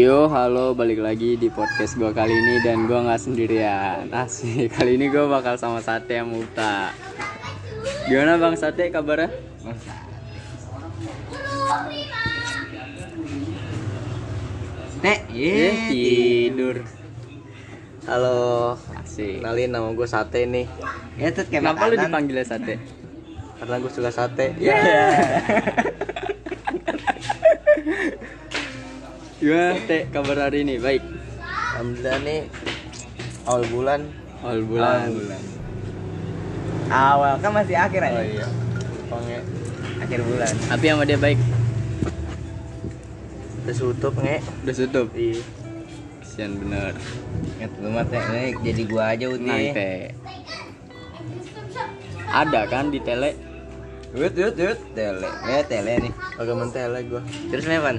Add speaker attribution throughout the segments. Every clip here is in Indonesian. Speaker 1: Yo, halo, balik lagi di podcast gua kali ini dan gua nggak sendirian. Asik, kali ini gua bakal sama Sate yang Mukta. Gimana Bang Sate kabarnya?
Speaker 2: Nek,
Speaker 3: iya.
Speaker 1: Eh,
Speaker 2: ye.
Speaker 1: tidur.
Speaker 2: Iya. Halo,
Speaker 1: Asik.
Speaker 2: kenalin nama gue Sate nih. Ya tuh kayak
Speaker 1: Kenapa lu
Speaker 2: makanan.
Speaker 1: dipanggilnya Sate?
Speaker 2: Karena gue suka sate.
Speaker 3: Iya.
Speaker 2: Iya.
Speaker 1: Ya. Gimana Teh kabar hari ini? Baik.
Speaker 2: Alhamdulillah nih awal bulan.
Speaker 1: All bulan.
Speaker 2: Awal bulan.
Speaker 3: awal kan masih akhir aja
Speaker 2: iya. Pengen
Speaker 3: akhir bulan
Speaker 1: Tapi sama dia baik.
Speaker 2: terus tutup nge.
Speaker 1: Udah tutup.
Speaker 2: Iya.
Speaker 1: Kesian bener.
Speaker 3: ya cuma teh ini jadi gua aja
Speaker 1: Nah,
Speaker 2: ya.
Speaker 3: uti
Speaker 1: Teh. Ada kan di tele?
Speaker 2: Yut yut yut.
Speaker 3: tele ya tele nih
Speaker 2: Agak mentele gue.
Speaker 3: terus Levan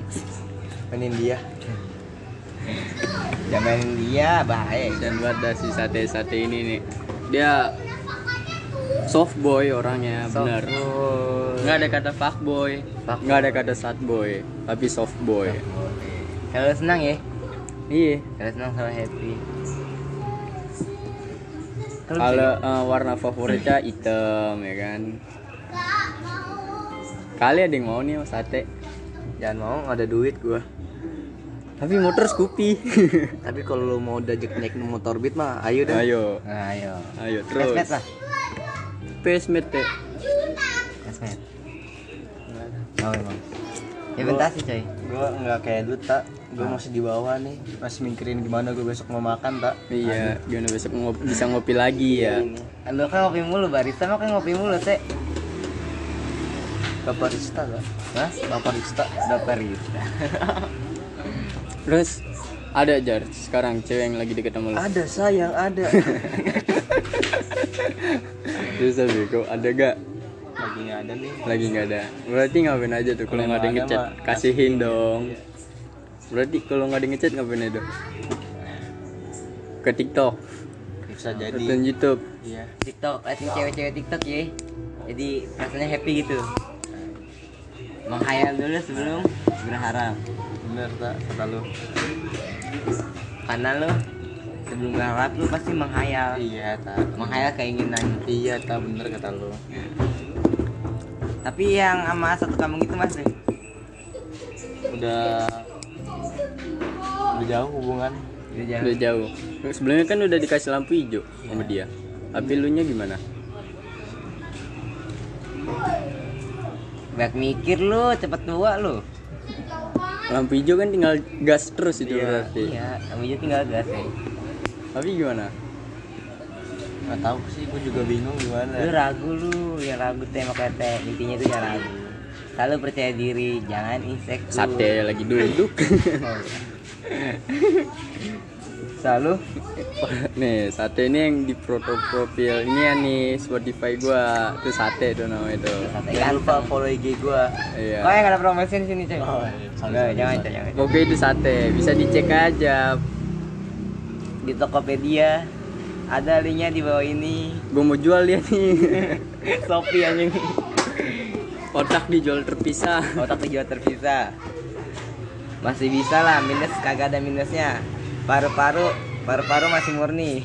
Speaker 2: Main India.
Speaker 3: jangan dia bahaya
Speaker 1: dan buat dari si sate-sate ini nih dia soft boy orangnya benar nggak ada kata fuck boy
Speaker 3: Fuck
Speaker 1: nggak ada kata sad boy tapi soft boy
Speaker 3: kalau senang ya
Speaker 1: iya
Speaker 3: kalau senang sama happy Kalau
Speaker 1: kalau eh, warna favoritnya hitam ya kan kali ada yang mau nih sama sate
Speaker 2: Jangan mau nggak ada duit gue.
Speaker 1: tapi motor Scoopy
Speaker 2: Tapi kalau lu mau dajek naik motor beat mah, ayo dah.
Speaker 1: ayo
Speaker 3: nah, ayo
Speaker 1: ayo terus
Speaker 3: Pesmet lah
Speaker 1: Pesmet, Teh.
Speaker 3: Pesmet oh emang ya bentar sih coy Ah.
Speaker 2: Gue nggak kayak lu tak. Gue masih di bawah nih. Masih mikirin gimana gue besok mau makan tak.
Speaker 1: iya gimana besok ngop- bisa ngopi lagi ya
Speaker 2: Ini
Speaker 3: lu kan ngopi mulu barista mah kan ngopi mulu teh
Speaker 2: Bapak Rista tak.
Speaker 3: mas
Speaker 2: Bapak Rista.
Speaker 3: bapak Rita
Speaker 1: terus ada jar sekarang cewek yang lagi deket sama lu
Speaker 2: Ada sayang ada.
Speaker 1: Bisa bego, ada gak?
Speaker 2: Lagi nggak ada nih.
Speaker 1: Lagi nggak ada. Berarti ngapain aja tuh kalau
Speaker 2: Kalau
Speaker 1: nggak ada yang
Speaker 2: nggak ada
Speaker 1: ngechat,
Speaker 2: mah,
Speaker 1: kasihin dong. Berarti kalau nggak ada yang ngechat ngapain aja? tuh? Ke TikTok,
Speaker 2: Bisa jadi.
Speaker 1: nonton YouTube.
Speaker 2: Iya.
Speaker 3: TikTok, asli cewek-cewek TikTok ya. Jadi rasanya happy gitu. Menghayal dulu sebelum berharap.
Speaker 2: Bener tak kata lu.
Speaker 3: Karena lo sebelum berharap lo pasti menghayal.
Speaker 2: Iya tak.
Speaker 3: Menghayal keinginan.
Speaker 2: Iya tak bener kata lu.
Speaker 3: Tapi yang sama satu kampung itu mas deh.
Speaker 2: Udah udah jauh hubungan.
Speaker 3: Itu jangan.
Speaker 1: Udah jauh. Sebelumnya kan udah dikasih lampu hijau sama dia. Tapi lu nya gimana?
Speaker 3: Banyak mikir lo, cepet tua lo.
Speaker 1: Lampu hijau kan tinggal gas terus itu
Speaker 2: Iya,
Speaker 1: berarti.
Speaker 3: Iya, kamu aja tinggal gas ya.
Speaker 1: Tapi gimana?
Speaker 2: Gak tahu sih, gue juga bingung
Speaker 3: Lu
Speaker 2: gimana.
Speaker 3: ragu lu, yang ragu teh makanya teh. Intinya tuh yang ragu. Selalu percaya diri, jangan insecure.
Speaker 1: Sate lagi duduk.
Speaker 3: Selalu
Speaker 1: nih sate ini yang di proto profil ini ya nih Spotify gua tuh sate tuh namanya tuh.
Speaker 3: sate
Speaker 2: Jangan lupa
Speaker 3: ganteng.
Speaker 2: follow IG gua.
Speaker 1: Iya.
Speaker 3: Oh, yang ada promosi di sini, coy.
Speaker 2: Oh, iya. Sorry,
Speaker 3: Nggak,
Speaker 2: sorry,
Speaker 3: jangan,
Speaker 2: sorry.
Speaker 3: coy, jangan.
Speaker 1: Kopi itu sate, bisa dicek aja.
Speaker 3: Di Tokopedia ada linknya di bawah ini.
Speaker 1: Gue mau jual dia nih.
Speaker 3: Shopee anjing.
Speaker 1: Otak dijual terpisah.
Speaker 3: Otak dijual Oh, terpisah. Masih bisa lah, minus kagak ada minusnya. Paru-paru, paru-paru masih murni.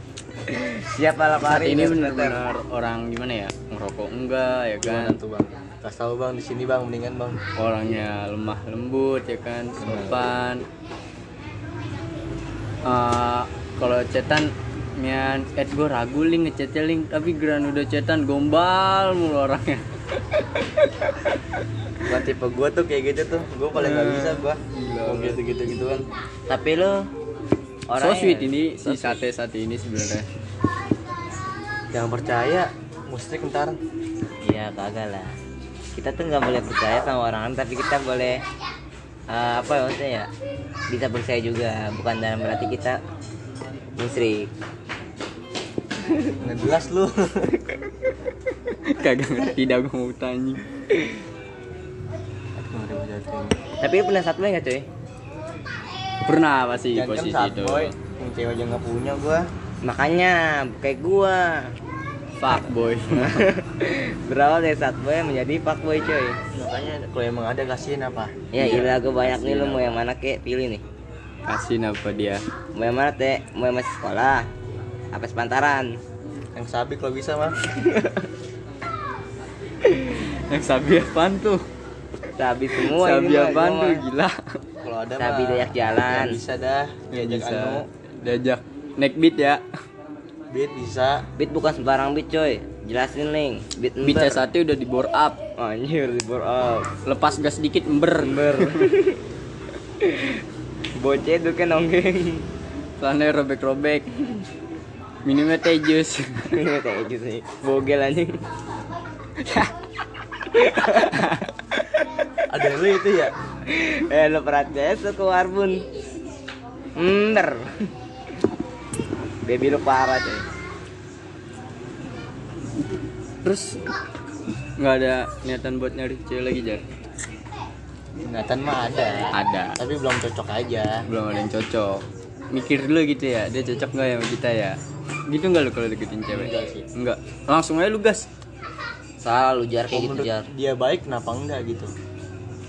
Speaker 3: Siap balap
Speaker 1: Sate
Speaker 3: hari
Speaker 1: ini
Speaker 3: bener
Speaker 1: benar-benar orang gimana ya? Ngerokok enggak ya kan?
Speaker 2: Gimana tuh bang? Kasih tahu bang di sini bang, mendingan bang.
Speaker 1: Orangnya lemah lembut ya kan, sopan. Eh, kalau cetan Mian, eh gue ragu link ngechatnya link, tapi geran udah cetan gombal mulu orangnya.
Speaker 2: Gua tipe gua tuh kayak gitu tuh. Gua paling
Speaker 3: Nah.
Speaker 2: gak bisa gua.
Speaker 3: Iya.
Speaker 2: Mau gitu-gitu gituan.
Speaker 3: Tapi lu
Speaker 1: ya, so sweet ini si sate sate ini sebenarnya.
Speaker 2: Jangan percaya, musrik ntar.
Speaker 3: Iya kagak lah. Kita tuh nggak boleh percaya sama orang lain, tapi kita boleh eh, apa ya maksudnya ya bisa percaya juga, bukan dalam berarti kita musrik.
Speaker 2: Nggak jelas lu.
Speaker 1: Kagak ngerti dah gue mau tanya.
Speaker 2: Aduh, udah bisa tuh.
Speaker 3: Tapi lu pernah satpol nggak cuy?
Speaker 1: Pernah pasti
Speaker 2: Jangan kan
Speaker 1: posisi
Speaker 2: saat
Speaker 1: itu.
Speaker 2: boy, yang cewek aja nggak punya gua.
Speaker 3: Makanya kayak gua
Speaker 1: fuck boy
Speaker 3: berawal dari fuckboy menjadi fuckboy coy
Speaker 2: makanya kalau emang ada kasihin apa
Speaker 3: ya
Speaker 1: Iya.
Speaker 3: gila gue banyak nih lu mau yang mana kek pilih nih
Speaker 1: kasih apa dia
Speaker 3: mau yang mana teh mau yang masih sekolah apa sepantaran
Speaker 2: yang sabi kalau bisa mah
Speaker 1: yang sabi apaan tuh
Speaker 3: sabi semua
Speaker 1: sabi
Speaker 3: ini mah,
Speaker 1: apaan
Speaker 3: gua
Speaker 1: tuh
Speaker 3: mah.
Speaker 1: gila
Speaker 2: kalau ada
Speaker 3: Sabi
Speaker 2: mah
Speaker 3: dayak jalan.
Speaker 2: yang bisa dah diajak
Speaker 1: bisa
Speaker 2: anu
Speaker 1: diajak neckbeat ya
Speaker 2: beat bisa
Speaker 3: beat bukan sembarang beat coy jelasin ling beat
Speaker 1: beat
Speaker 3: ember.
Speaker 1: S1 udah di bore up
Speaker 3: anjir oh. di bore up
Speaker 1: lepas gas dikit ember
Speaker 3: bocet tuh kan nonggeng
Speaker 1: Plannya robek-robek minumnya teh jus
Speaker 3: Ini kayak gitu sih bogel anjing
Speaker 2: ada lu itu ya
Speaker 3: eh lo perhatiin tuh ke warbun ember baby lu parah coy
Speaker 1: terus nggak ada niatan buat nyari cewek lagi jar
Speaker 2: ingatan mah ada
Speaker 1: ada
Speaker 2: tapi belum cocok aja
Speaker 1: belum ada yang cocok mikir dulu gitu ya dia cocok nggak ya sama kita ya gitu nggak lu kalau deketin cewek
Speaker 2: Enggak sih.
Speaker 1: enggak langsung aja lu gas
Speaker 3: salah lu jar
Speaker 2: kalau
Speaker 3: kayak gitu
Speaker 2: menurut
Speaker 3: jar
Speaker 2: dia baik kenapa enggak gitu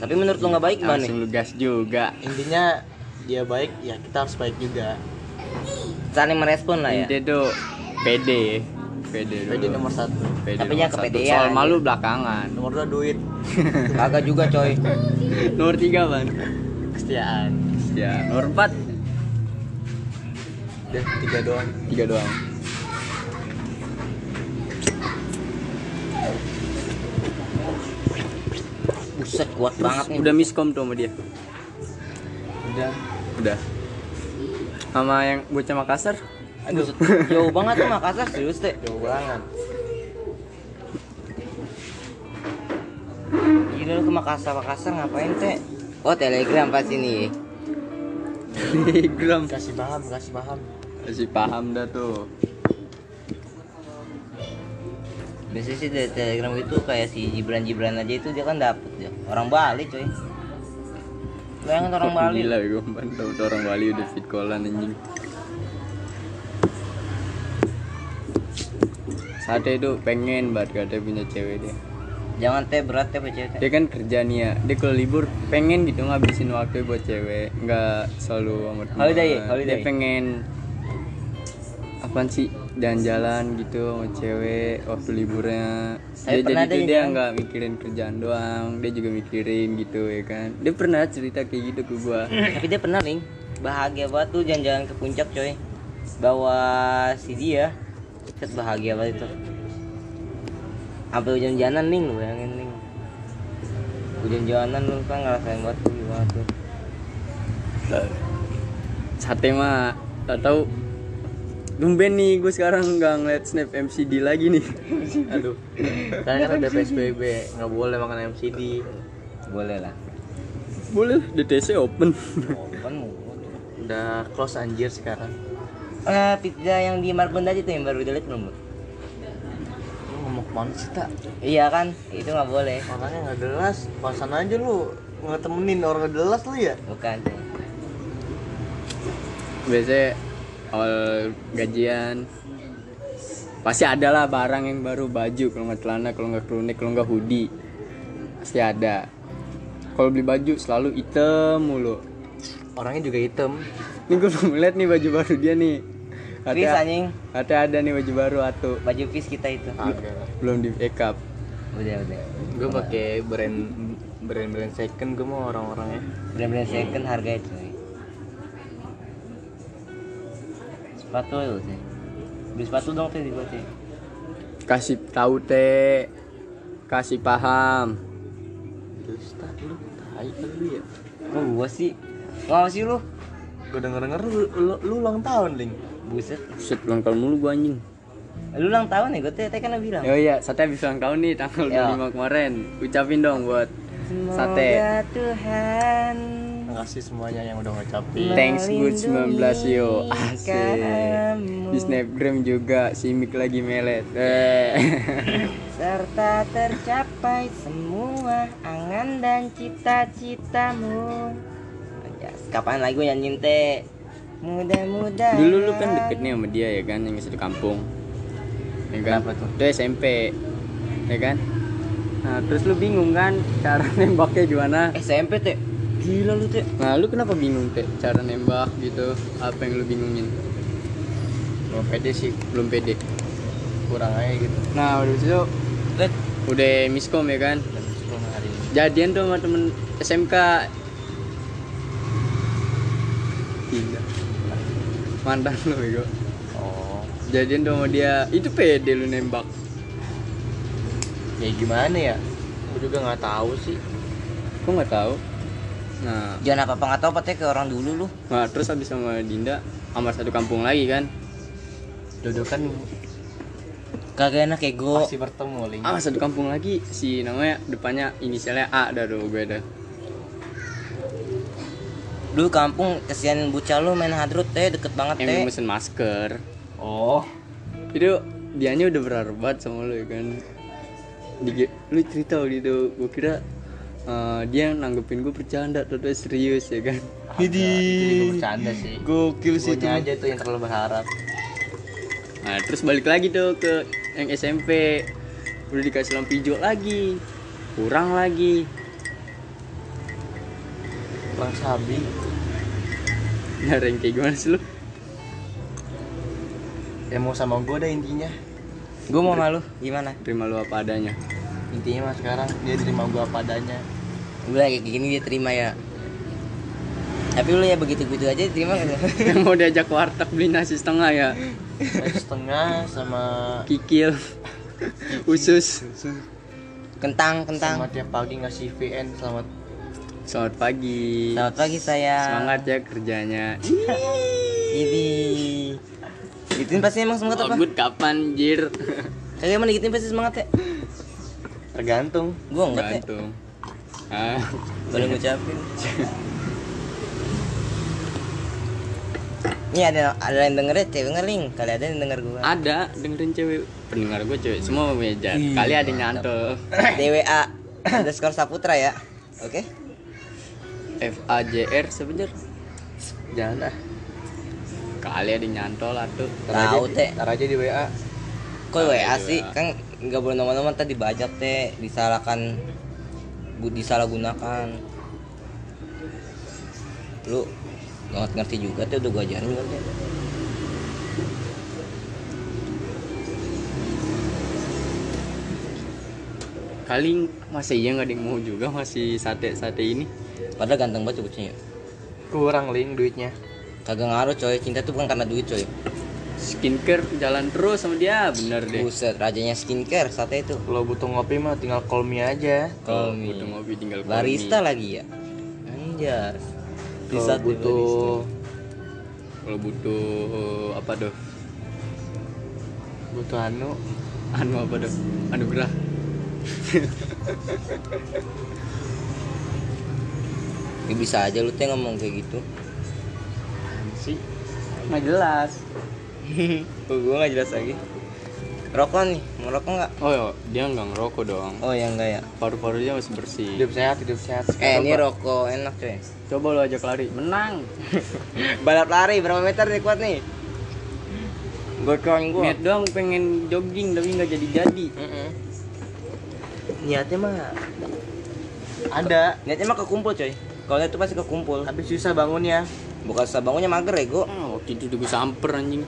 Speaker 3: tapi menurut lu nggak baik gimana nih
Speaker 1: langsung lu gas juga
Speaker 2: intinya dia baik ya kita harus baik juga
Speaker 3: saling merespon lah ya
Speaker 1: intinya tuh pede pede dulu
Speaker 2: jadi nomor satu
Speaker 1: Pede
Speaker 3: Tapi
Speaker 1: nomor
Speaker 3: jangan
Speaker 1: satu.
Speaker 3: kepedean,
Speaker 1: soal
Speaker 3: anjing.
Speaker 1: malu belakangan
Speaker 2: nomor dua duit
Speaker 3: kagak juga coy
Speaker 1: nomor tiga ban
Speaker 2: kesetiaan
Speaker 1: ya nomor empat
Speaker 2: dan tiga doang
Speaker 1: tiga doang
Speaker 3: buset kuat banget nih
Speaker 1: udah miskom tuh sama dia
Speaker 2: udah
Speaker 1: udah sama yang bocah Makassar
Speaker 3: Aduh, jauh banget tuh Makassar serius teh.
Speaker 2: jauh banget
Speaker 3: Gila lu ke Makassar Makassar ngapain teh? Oh telegram pas ini.
Speaker 1: telegram
Speaker 2: kasih paham kasih paham
Speaker 1: masih paham dah tuh
Speaker 3: Biasanya sih dari telegram itu kayak si Jibran Jibran aja itu dia kan dapet ya. Orang Bali coy. Bayangin orang Bali.
Speaker 1: gila gue mantap tuh orang Bali udah fit callan anjing Sate itu pengen banget katanya punya cewek dia
Speaker 3: Jangan teh berat teh pecah teh.
Speaker 1: Dia kan kerja nih ya Dia kalau libur pengen gitu ngabisin waktu buat cewek Nggak selalu sama teman
Speaker 3: Holiday, holiday.
Speaker 1: Dia pengen Apaan sih jalan-jalan gitu sama cewek waktu liburnya dia
Speaker 3: Saya pernah
Speaker 1: jadi tuh
Speaker 3: deh
Speaker 1: dia
Speaker 3: jalan.
Speaker 1: nggak mikirin kerjaan doang dia juga mikirin gitu ya kan dia pernah cerita kayak gitu ke gua
Speaker 3: Tapi dia pernah nih bahagia banget tuh jalan-jalan ke puncak coy. Bawa si dia. Set bahagia banget itu. Sampai hujan-hujanan nih lu bayangin nih. Hujan-hujanan lu kan ngerasain banget tuh gimana tuh.
Speaker 1: sate mah tak tahu Tumben nih gue sekarang nggak ngeliat snap MCD lagi nih
Speaker 2: aduh karena kan udah psbb nggak boleh makan MCD
Speaker 3: Boleh lah.
Speaker 1: Boleh lah, DTC open
Speaker 3: Kan mulu.
Speaker 2: udah close anjir sekarang
Speaker 3: Eh, pizza yang di Marbun tadi tuh yang baru delete belum? Bu?
Speaker 2: lu ngomong kemana sih tak
Speaker 3: Iya kan? Itu nggak boleh.
Speaker 2: orangnya nggak jelas pasan aja lu ngetemenin orang nggak jelas lu ya
Speaker 3: Bukan.
Speaker 1: Biasanya awal gajian Pasti ada lah barang yang baru Baju, kalau nggak celana, kalau nggak kerunik, kalau nggak hoodie Pasti ada Kalau beli baju selalu item mulu
Speaker 2: orangnya juga hitam
Speaker 1: Nih gue belum ngeliat nih baju baru dia nih
Speaker 3: Fis
Speaker 1: Katanya,
Speaker 3: anjing,
Speaker 1: katanya ada nih baju baru atuh
Speaker 3: baju fis kita itu.
Speaker 1: Belum di backup
Speaker 3: Udah udah.
Speaker 2: gue pakai Ya, brand brand brand second gue mau orang-orangnya
Speaker 3: Brand-brand second harganya cuy. Sepatu itu sih. Beli sepatu dong tadi gua sih.
Speaker 1: Kasih tahu teh Kasih paham
Speaker 2: terus tak Gitu, lu tai lu ya
Speaker 3: Kok gua sih? Wow sih lu.
Speaker 2: gue denger denger lu, lu, lu ulang tahun ling
Speaker 3: Buset.
Speaker 1: Buset ulang tahun mulu gua anjing
Speaker 3: Lu ulang tahun ya, gua teh teh kan lu bilang.
Speaker 1: Oh iya, sate habis ulang tahun nih tanggal
Speaker 3: Yo.
Speaker 1: 25 kemarin. Ucapin dong buat Sate.
Speaker 3: Semoga Tuhan
Speaker 2: makasih semuanya yang udah ngucapin
Speaker 1: Thanks good 19 yo.
Speaker 3: melindungi
Speaker 1: Asik.
Speaker 3: kamu.
Speaker 1: Di Snapgram juga si Mik lagi melet. Eh.
Speaker 3: serta tercapai semua angan dan cita-citamu. Kapan lagi gue nyanyiin teh? Mudah-mudahan.
Speaker 1: kan Dulu lu kan deket nih sama dia ya kan yang satu kampung. ya kan?
Speaker 2: Kenapa tuh?
Speaker 1: Itu SMP, ya kan? Nah, terus lu bingung kan cara nembaknya gimana?
Speaker 3: SMP teh gila lu teh
Speaker 1: Nah, lu kenapa bingung teh cara nembak gitu? Apa yang lu bingungin?
Speaker 2: belum pede sih
Speaker 1: Belum pede.
Speaker 2: kurang aja gitu
Speaker 1: Nah, udah itu
Speaker 2: Eh.
Speaker 3: let
Speaker 1: udah miskom ya kan? Jadian tuh sama temen SMK. Tiga. Mantan lu bego.
Speaker 2: oh
Speaker 1: Jadian tuh sama dia. Itu pede lu nembak.
Speaker 2: ya gimana ya gue juga nggak tahu sih
Speaker 1: Kok nggak tahu? Nah,
Speaker 3: jangan apa apa nggak tahu patah ke orang dulu lu
Speaker 1: Nah, terus habis sama Dinda sama satu kampung lagi kan?
Speaker 2: Dodo kan
Speaker 3: kagak enak ego
Speaker 2: pasti bertemu link
Speaker 1: Sama Ah, satu kampung lagi si namanya depannya inisialnya A dah tuh gue dah.
Speaker 3: dulu kampung kesian bocah lu main hadrut teh deket banget teh
Speaker 1: Yang mesen masker.
Speaker 2: oh
Speaker 1: Itu dianya udah berarbat sama lu ya kan. Di- lu cerita waktu itu gue kira eh, dia nanggepin gue bercanda ternyata serius ya kan.
Speaker 2: jadi bercanda sih
Speaker 1: Gokil sih itu.
Speaker 2: Guanya aja tuh yang terlalu berharap
Speaker 1: Nah, terus balik lagi tuh ke yang SMP. Udah dikasih lampu hijau lagi. Kurang lagi.
Speaker 2: kurang sabi
Speaker 1: Nah, yang kayak gimana sih lu?
Speaker 2: ya mau sama gue dah intinya
Speaker 3: gue mau malu gimana
Speaker 1: Terima lu apa adanya.
Speaker 2: intinya mah sekarang dia terima gue apa adanya
Speaker 3: gue kayak gini dia terima ya tapi lu ya begitu begitu aja terima nggak?
Speaker 1: yang mau diajak warteg beli nasi setengah ya
Speaker 2: Nasi setengah sama
Speaker 1: kikil usus
Speaker 3: kentang kentang
Speaker 2: sama tiap pagi ngasih VN selamat
Speaker 1: selamat pagi
Speaker 3: selamat pagi saya
Speaker 1: semangat ya kerjanya
Speaker 3: ini gituin pasti emang semangat apa
Speaker 1: Output kapan jir
Speaker 3: kagak mana gituin pasti semangat ya
Speaker 2: tergantung
Speaker 3: gue enggak eh. teh
Speaker 1: gantung ah
Speaker 3: baru ngucapin Ini ada ada yang denger ya, cewek ngeling. Kali ada yang denger gua.
Speaker 1: ada dengerin cewek pendengar gue cewek semua meja kali ada yang nyantol
Speaker 3: DWA underscore Saputra ya. Oke.
Speaker 1: F A J R sebenernya
Speaker 2: jangan ah
Speaker 1: kali ada yang nyantol atuh
Speaker 3: Tahu teh.
Speaker 2: ntar aja di WA
Speaker 3: Kok WA
Speaker 1: DWA.
Speaker 3: sih? Kan nggak boleh nomor-nomor tadi dibajak teh, disalahkan bu disalahgunakan. Lu nggak ngerti juga tuh udah gua ajarin kan teh.
Speaker 1: kali masih iya nggak ada yang mau juga masih sate sate ini
Speaker 3: Padahal ganteng banget tuh kucingnya.
Speaker 2: kurang link duitnya
Speaker 3: Kagak ngaruh coy, cinta tuh bukan karena duit coy.
Speaker 1: skincare jalan terus sama dia bener deh
Speaker 3: Buset, rajanya skincare sate itu.
Speaker 2: kalau butuh ngopi mah tinggal call me aja
Speaker 1: kalau
Speaker 3: Komi.
Speaker 1: butuh ngopi tinggal call
Speaker 3: Barista
Speaker 1: me.
Speaker 3: lagi ya? Anjas.
Speaker 2: kalau
Speaker 3: Bisa
Speaker 2: butuh
Speaker 1: kalau butuh eh, apa doh
Speaker 2: butuh anu
Speaker 1: anu apa doh anugerah
Speaker 3: Ya bisa aja lu teh ngomong kayak gitu.
Speaker 2: sih
Speaker 1: nggak jelas
Speaker 3: Gue gua nggak jelas lagi. Rokok nih, mau rokok nggak?
Speaker 1: oh ya dia nggak ngerokok dong
Speaker 3: Oh ya enggak ya.
Speaker 1: paru-parunya masih bersih
Speaker 2: hidup sehat hidup sehat
Speaker 3: Eh
Speaker 2: sekarang
Speaker 3: ini rokok enak coy.
Speaker 1: coba lo ajak lari menang
Speaker 3: Balap lari berapa meter nih kuat nih? Gocong gua.
Speaker 1: niat doang pengen jogging tapi nggak jadi-jadi
Speaker 3: Mm-mm. Niatnya mah
Speaker 2: ada
Speaker 3: niatnya mah kekumpul coy. Kalau niat tuh pasti kekumpul.
Speaker 2: tapi susah bangunnya
Speaker 3: Bukan susah bangunnya mager ya gua.
Speaker 1: ah, waktu itu udah gue samper anjing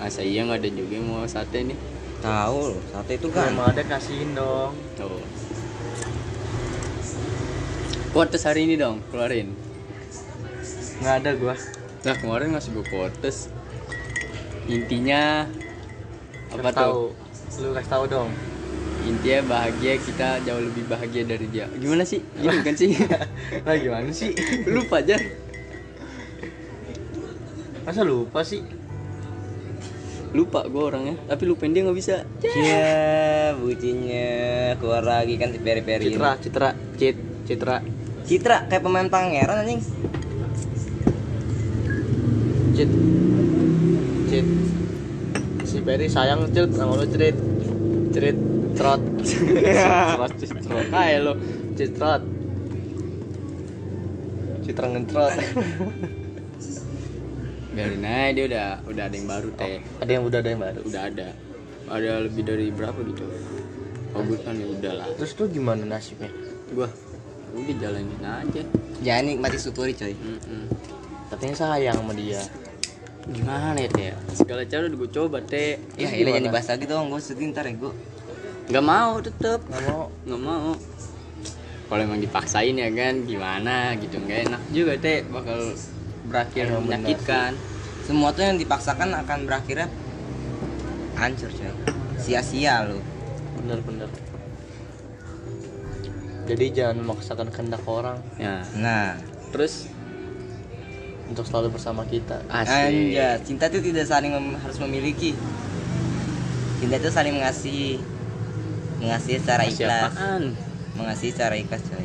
Speaker 1: masa iya nggak ada juga yang mau sate nih
Speaker 3: Tahu loh, sate itu
Speaker 2: Kalau
Speaker 3: kan.
Speaker 2: emang ada kasihin dong
Speaker 1: tuh Kuotes hari ini dong, keluarin
Speaker 2: nggak ada gua
Speaker 1: Nah kemarin ngasih gue quotes Intinya Apa
Speaker 2: Kasih tahu lu kasih tahu dong
Speaker 1: tuh? Intinya bahagia kita jauh lebih bahagia dari dia Gimana sih? Gini kan sih?
Speaker 2: lah gimana sih
Speaker 1: Lupa aja
Speaker 2: masa lupa sih
Speaker 1: Lupa gue orangnya Tapi lupain dia gak bisa
Speaker 3: Iya, bucinnya keluar lagi kan si peri-peri. ini.
Speaker 2: Citra Citra Cit Citra
Speaker 3: Citra kayak pemain pangeran anjing.
Speaker 2: Cit Cit si Peri sayang Cit sama lu Crit Crit Trot
Speaker 1: Terus terus Hai lo
Speaker 2: Cit Trot Citra ngentrot
Speaker 1: biarin aja dia udah udah ada yang baru teh
Speaker 2: ada yang udah ada yang baru
Speaker 1: udah ada ada lebih dari berapa gitu kalau bukan ya udahlah
Speaker 2: terus tuh gimana nasibnya
Speaker 1: gua udah jalanin aja
Speaker 3: jangan nikmati syukuri coy
Speaker 1: Mm-mm.
Speaker 2: katanya sayang sama dia
Speaker 1: gimana ya teh segala cara udah gue coba teh
Speaker 3: ya
Speaker 2: Terus
Speaker 3: ini
Speaker 2: gimana?
Speaker 3: jangan dibahas lagi dong gue sedih ntar ya gue
Speaker 1: nggak mau tetep
Speaker 2: nggak mau
Speaker 1: nggak mau kalau emang dipaksain ya kan gimana gitu nggak enak juga teh bakal berakhir
Speaker 2: Emang benar
Speaker 1: menyakitkan
Speaker 3: semua tuh yang dipaksakan akan berakhirnya hancur coy sia-sia lu
Speaker 2: bener-bener jadi jangan memaksakan kehendak orang
Speaker 1: ya
Speaker 3: nah
Speaker 1: terus
Speaker 2: untuk selalu bersama kita
Speaker 1: asik
Speaker 3: Anjay, cinta itu tidak saling mem- harus memiliki. Cinta itu saling mengasihi. Mengasihi secara
Speaker 1: Masih
Speaker 3: ikhlas.
Speaker 1: apaan?
Speaker 3: Mengasihi secara ikhlas, coy.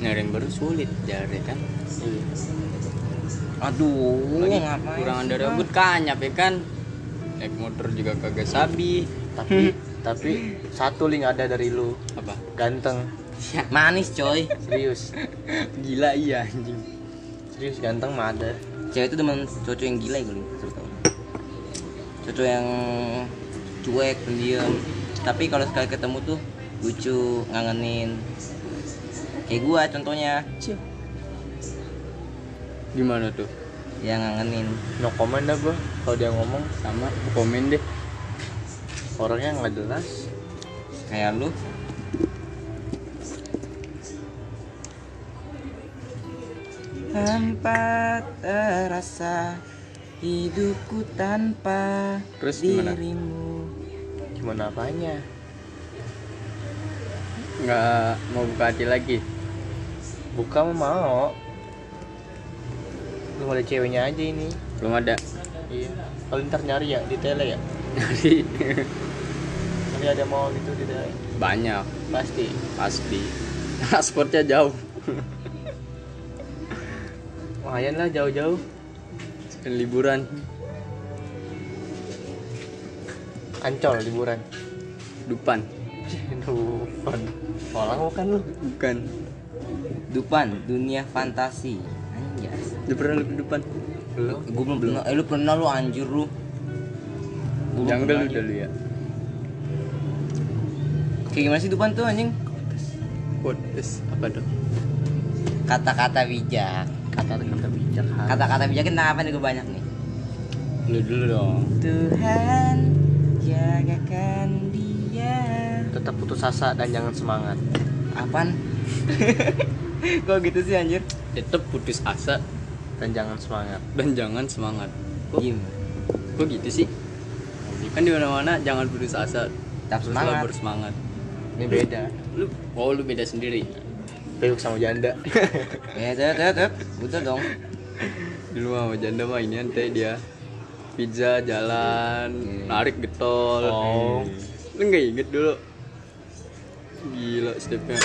Speaker 1: nyari yang baru sulit jari kan
Speaker 2: Iya.
Speaker 3: Aduh,
Speaker 1: lagi
Speaker 3: ngapain
Speaker 1: kurang
Speaker 3: sih,
Speaker 1: ada
Speaker 3: Bang?
Speaker 1: rambut kanyap ya kan naik motor juga kagak sabi
Speaker 2: tapi tapi satu link ada dari lu
Speaker 1: apa
Speaker 2: ganteng
Speaker 3: Ya, Manis, coy.
Speaker 2: serius
Speaker 1: gila iya anjing
Speaker 2: serius ganteng mah ada
Speaker 3: Cewek itu demen cowok yang gila kali, terutama. Cowok yang cuek, pendiam. Tapi kalau sekali ketemu tuh lucu, ngangenin. Kayak gua contohnya,
Speaker 1: gimana tuh
Speaker 3: yang ngangenin.
Speaker 2: no comment dah gua kalau dia ngomong
Speaker 1: sama komen deh
Speaker 2: orangnya nggak jelas
Speaker 3: Kayak lu, Tanpa terasa hidupku tanpa
Speaker 1: Terus gimana?
Speaker 3: dirimu.
Speaker 2: gimana apanya
Speaker 1: nggak mau buka hati lagi
Speaker 2: buka mah mau belum ada ceweknya aja ini
Speaker 1: belum ada
Speaker 2: iya kalau ntar nyari ya di tele ya
Speaker 1: nyari
Speaker 2: nanti ada mau gitu di tele
Speaker 1: banyak
Speaker 2: pasti
Speaker 1: pasti transportnya jauh
Speaker 2: lumayan lah jauh-jauh
Speaker 1: Dan liburan
Speaker 2: kancol liburan
Speaker 1: dupan
Speaker 2: Dupan orang bukan kan lu
Speaker 1: bukan
Speaker 3: Dupan, dunia fantasi. Anjas.
Speaker 1: udah pernah lu ke dupan
Speaker 2: belum
Speaker 3: Gue belum pernah. Eh lu pernah lu anjir lu. Belum
Speaker 1: janggal
Speaker 3: pernah.
Speaker 1: udah lu ya
Speaker 3: Kayak gimana sih Dupan tuh anjing?
Speaker 1: podcast apa dong
Speaker 3: Kata-kata bijak.
Speaker 2: kata kata bijak
Speaker 3: Kata-kata bijak kita apa nih gue banyak nih.
Speaker 1: lu dulu dong
Speaker 3: Tuhan jagakan dia.
Speaker 2: tetap putus asa dan jangan semangat
Speaker 3: Apaan? Kok gitu sih anjir?
Speaker 1: tetep putus asa
Speaker 2: dan jangan semangat
Speaker 1: dan jangan semangat Kok-
Speaker 2: Iya,
Speaker 3: Gim.
Speaker 1: kok gitu sih kan di mana mana jangan putus asa
Speaker 3: Tetap
Speaker 1: terus
Speaker 3: semangat.
Speaker 1: selalu bersemangat
Speaker 2: ini beda
Speaker 1: lu oh lu beda sendiri
Speaker 2: peluk sama janda
Speaker 3: Eh, tep, tep, tep. Butuh dong.
Speaker 1: dulu mah sama janda mah ini teh dia pizza jalan narik getol
Speaker 2: Oh.
Speaker 1: lu nggak inget dulu gila stepnya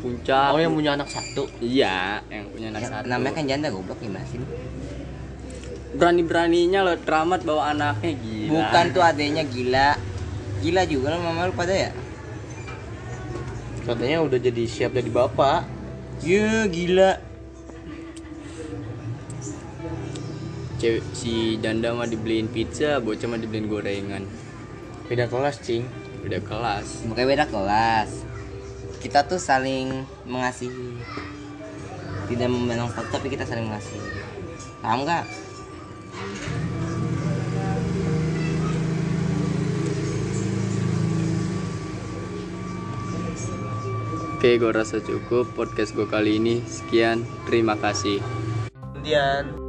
Speaker 1: puncak
Speaker 2: oh yang punya anak satu
Speaker 1: iya yang punya anak
Speaker 3: Ya,
Speaker 1: satu
Speaker 3: namanya kan janda goblok gimana sih? lu?
Speaker 1: berani beraninya lo teramat bawa anaknya gila
Speaker 3: Bukan tuh adanya gila. Gila juga lo mama lu pada ya?
Speaker 2: katanya udah jadi siap jadi bapak
Speaker 3: Ya gila.
Speaker 1: Cewek- si janda mah dibeliin pizza bocah mah dibeliin gorengan
Speaker 2: beda kelas cing
Speaker 1: udah kelas
Speaker 3: Makanya beda kelas. Kita tuh saling mengasihi. Tidak memandang foto tapi kita saling mengasihi. Paham gak?
Speaker 1: Oke, gue rasa cukup podcast gue kali ini. Sekian, terima kasih.
Speaker 2: kemudian